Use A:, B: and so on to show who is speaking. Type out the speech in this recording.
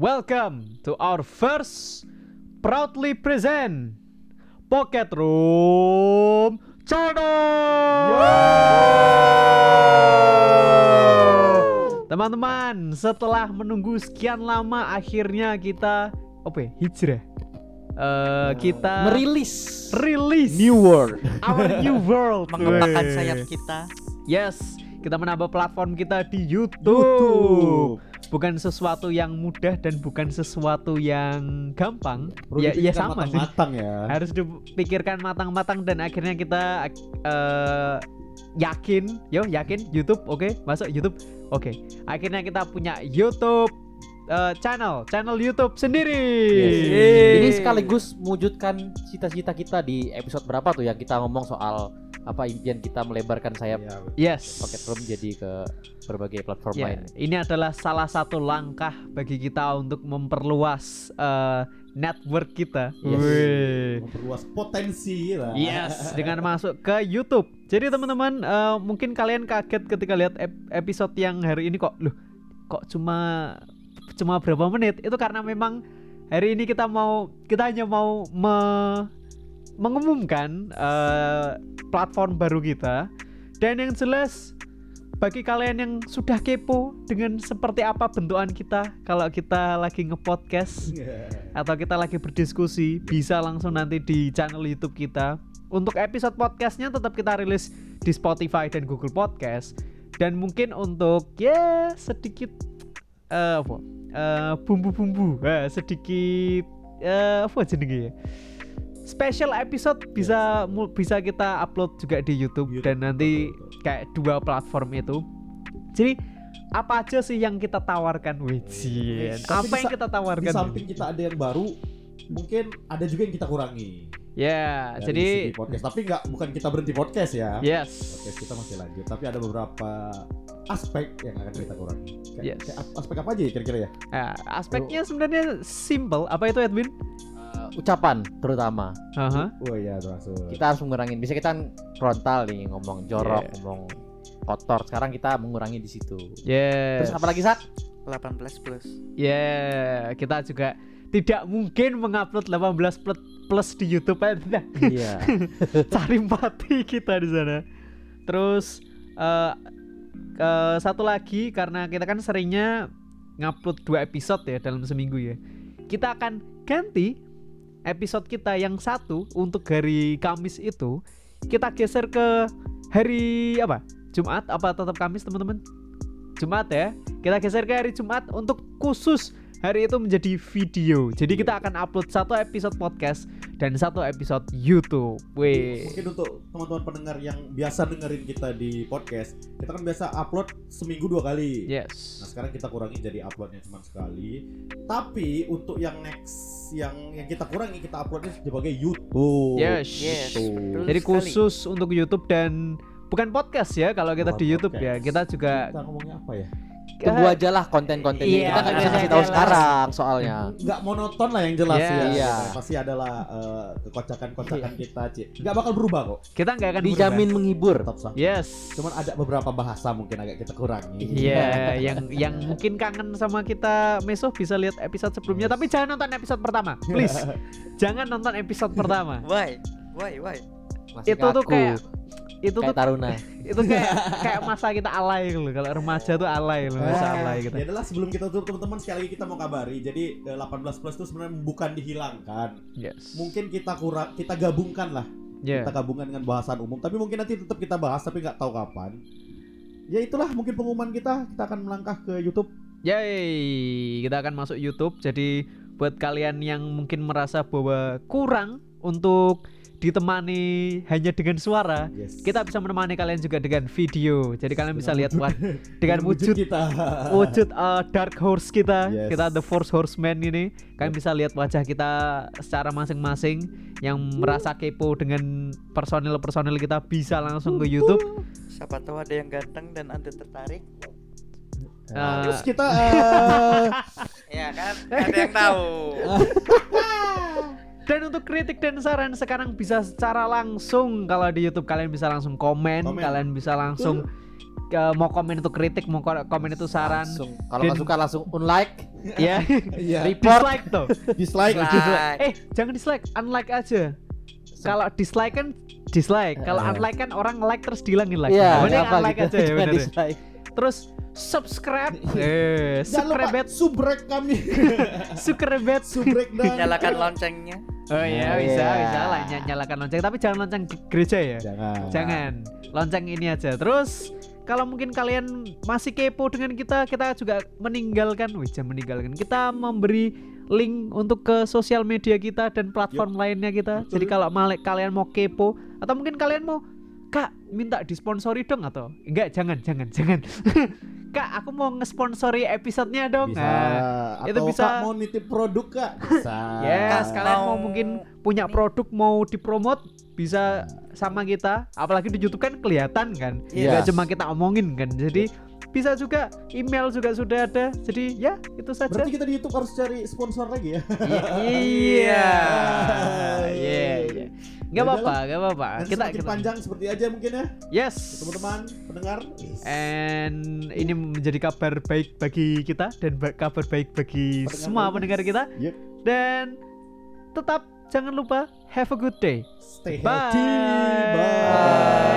A: Welcome to our first proudly present Pocket Room Channel. Teman-teman, setelah menunggu sekian lama akhirnya kita apa ya? Hijrah. Eh, kita
B: merilis
A: rilis
B: New World.
A: our new world
C: mengepakkan
A: Weh.
C: sayap kita.
A: Yes, kita menambah platform kita di YouTube.
B: YouTube.
A: Bukan sesuatu yang mudah dan bukan sesuatu yang gampang.
B: Perlu
A: ya, ya
B: dipikirkan
A: sama sih.
B: matang-matang ya.
A: Harus dipikirkan matang-matang dan akhirnya kita eh, yakin, yo yakin YouTube, oke, masuk YouTube, oke. Akhirnya kita punya YouTube eh, channel, channel YouTube sendiri.
B: Yes.
A: Yeay.
B: Ini sekaligus mewujudkan cita-cita kita di episode berapa tuh yang kita ngomong soal apa impian kita melebarkan
D: Iya,
B: sayap
A: Yes.
B: Pocket Room jadi ke berbagai platform
A: Ya,
B: lain.
A: ini adalah salah satu langkah bagi kita untuk memperluas eh, network kita.
B: Yes.
A: Wih.
D: memperluas potensi lah.
A: Yes, dengan masuk ke YouTube. Jadi teman-teman, eh, mungkin kalian kaget ketika lihat ep- episode yang hari ini kok, loh, kok cuma cuma berapa menit? Itu karena memang hari ini kita mau kita hanya mau me- mengumumkan eh, platform baru kita. Dan yang jelas bagi kalian yang sudah kepo dengan seperti apa bentukan kita kalau kita lagi nge-podcast atau kita lagi berdiskusi bisa langsung nanti di channel YouTube kita. Untuk episode podcastnya tetap kita rilis di Spotify dan Google Podcast dan mungkin untuk ya sedikit eh, apa Eh, bumbu-bumbu eh, sedikit eh, apa jenenge ya special episode bisa mu- bisa kita upload juga di YouTube,
D: YouTube,
A: dan nanti
D: betul, betul.
A: kayak dua platform itu jadi apa aja sih yang kita tawarkan Wijian?
D: Tapi
A: Apa
D: di
A: yang
D: sa-
A: kita
D: Di
A: tawarkan? nih?
D: samping kita ada yang baru, mungkin ada juga yang kita kurangi.
A: Ya,
D: dari
A: jadi Iya.
D: segi podcast, tapi nggak bukan kita berhenti podcast ya.
A: yes.
D: Podcast kita masih lanjut, tapi ada beberapa aspek yang akan kita kurangi. Kayak,
A: Yes.
D: kayak as- aspek apa aja ya kira-kira ya?
A: Nah, aspeknya sebenarnya simple. Apa itu Edwin?
B: Uh, ucapan terutama
A: Aha.
D: Oh iya termasuk.
B: kita harus mengurangi. Bisa kita kan frontal nih ngomong jorok, ngomong kotor. Sekarang kita mengurangi di situ.
A: Yes.
B: Terus apalagi saat
C: 18 plus.
A: Yeah, kita juga tidak mungkin mengupload 18 plus plus di YouTube Nah,
B: Iya.
A: cari mati kita di sana. Terus eh eh, satu lagi karena kita kan seringnya ngupload dua episode ya dalam seminggu ya. Kita akan ganti episode kita yang satu untuk hari Kamis itu kita geser ke hari apa? Jumat apa tetap Kamis teman-teman? Jumat ya. Kita geser ke hari Jumat untuk khusus hari itu menjadi video. Jadi kita akan upload satu episode podcast dan satu episode YouTube. Wih.
D: Mungkin untuk teman-teman pendengar yang biasa dengerin kita di podcast, kita kan biasa upload seminggu dua kali. Nah
A: Yes.
D: sekarang kita kurangi jadi uploadnya cuma sekali. Tapi untuk yang next yang yang kita kurangi kita uploadnya sebagai YouTube.
A: Yes.
C: Yes.
D: Gitu.
C: betul
A: Jadi
C: sekali.
A: khusus untuk YouTube dan bukan podcast ya kalau kita
D: Bukan
A: di YouTube ya.
D: podcast.
A: Kita juga
D: Kita ngomongnya apa ya?
B: tunggu aja lah konten-kontennya.
A: Iya,
B: kita nggak bisa
A: iya,
B: kasih tahu
A: iya.
B: sekarang soalnya.
D: Nggak monoton lah yang jelas
A: Yes. Iya.
D: ya.
B: Iya.
D: Pasti adalah eh, kekocakan-kocakan kita, Cik. Nggak bakal berubah kok.
A: kita nggak akan
B: Dijamin menghibur.
D: Tetap sama.
A: berubah. Yes.
D: Cuman ada beberapa bahasa mungkin agak kita kurangi.
A: Iya, yang yang mungkin kangen sama kita Meso bisa lihat episode sebelumnya, tapi jangan nonton episode pertama, please. jangan nonton episode pertama.
C: Why? Why? Why?
B: Masih
A: Itu tuh
B: kaku,
A: kayak Itu tuh
B: kayak taruna.
A: itu kayak kayak masa kita alay loh. Kalau remaja tuh alay loh, masa alay
D: Eh,
A: gitu.
D: Ya adalah sebelum kita tutup teman-teman sekali lagi kita mau kabari. Jadi eh, 18 plus itu sebenarnya bukan dihilangkan.
A: Yes. Iya.
D: Mungkin kita kurang kita gabungkan lah
A: Yeah.
D: kita gabungkan dengan bahasan umum tapi mungkin nanti tetap kita bahas tapi nggak tahu kapan ya itulah mungkin pengumuman kita kita akan melangkah ke YouTube
A: Yay, kita akan masuk YouTube. Jadi buat kalian yang mungkin merasa bahwa kurang untuk ditemani hanya dengan suara,
D: yes.
A: kita bisa menemani kalian juga dengan video. Jadi kalian bisa lihat wah, dengan wujud
D: kita
A: wujud uh, dark horse kita,
D: Yes.
A: kita the force horseman ini, kalian bisa lihat wajah kita secara masing-masing. Yang merasa kepo dengan personil-personil kita bisa langsung ke YouTube.
C: Siapa tahu ada yang ganteng dan anda tertarik.
A: Uh,
D: terus kita eh,
C: Ya kan? ada yang tahu.
A: Dan untuk kritik dan saran sekarang bisa secara langsung kalau di YouTube kalian bisa langsung komen,
D: Komen.
A: kalian bisa langsung eh, mau komen itu kritik, mau ko- komen itu saran,
B: Langsung. Kalau nggak
A: Dan-
B: suka langsung unlike,
A: ya
D: Iya.
B: report.
A: dislike tuh.
D: Dislike.
C: Dislike.
A: Dislike. Eh, jangan dislike, unlike aja. Kalau dislike kan dislike, kalau
B: Eh.
A: unlike kan orang like terus dihilangin like.
B: Iya,
A: Mending
B: kenapa
A: unlike
B: gitu?
A: aja ya
B: Jangan
A: bener. ya.
B: dislike.
A: Terus subscribe, eh,
D: Jangan lupa
A: subscribe,
D: subrek kami.
A: subscribe.
D: subrek dan
C: Nyalakan loncengnya.
A: Oh iya,
B: Oh,
A: bisa,
B: iya.
A: bisa lah ny- nyalakan lonceng, tapi jangan lonceng ge- gereja ya.
D: Jangan.
A: Jangan. Lonceng ini aja. Terus kalau mungkin kalian masih kepo dengan kita, kita juga meninggalkan, wih, jangan meninggalkan. Kita memberi link untuk ke sosial media kita dan platform lainnya kita.
D: Betul.
A: Jadi kalau malik kalian mau kepo atau mungkin kalian mau Kak, minta disponsori dong atau enggak? Jangan, jangan, jangan. Kak, aku mau ngesponsori episodenya dong.
D: Bisa.
A: Nah,
D: Atau
A: itu bisa.
D: Kak mau nitip produk kak? Bisa.
A: Yes,
C: Nah.
A: kalian mau
C: Mau-
A: mungkin punya produk mau dipromot bisa sama kita. Apalagi di YouTube kan kelihatan kan.
B: Iya.
A: Nggak cuma kita omongin kan. Jadi bisa juga email juga sudah ada. Jadi ya itu saja.
D: Berarti iya. kita di YouTube harus cari sponsor lagi ya.
A: Iya. Iya, iya. Enggak
D: Yaudah
A: apa-apa, enggak apa-apa.
D: Nanti
A: Ah, Kita
D: semakin
A: kita
D: panjang seperti aja mungkin ya,
A: Yes.
D: teman-teman pendengar.
A: And ini menjadi kabar baik bagi kita dan ba- kabar baik bagi Eh,
D: Pendengar
A: semua
D: bagus.
A: pendengar kita.
D: Yep.
A: Dan tetap jangan lupa have a good day.
D: Stay
A: Bye.
D: healthy. Bye.
A: Bye.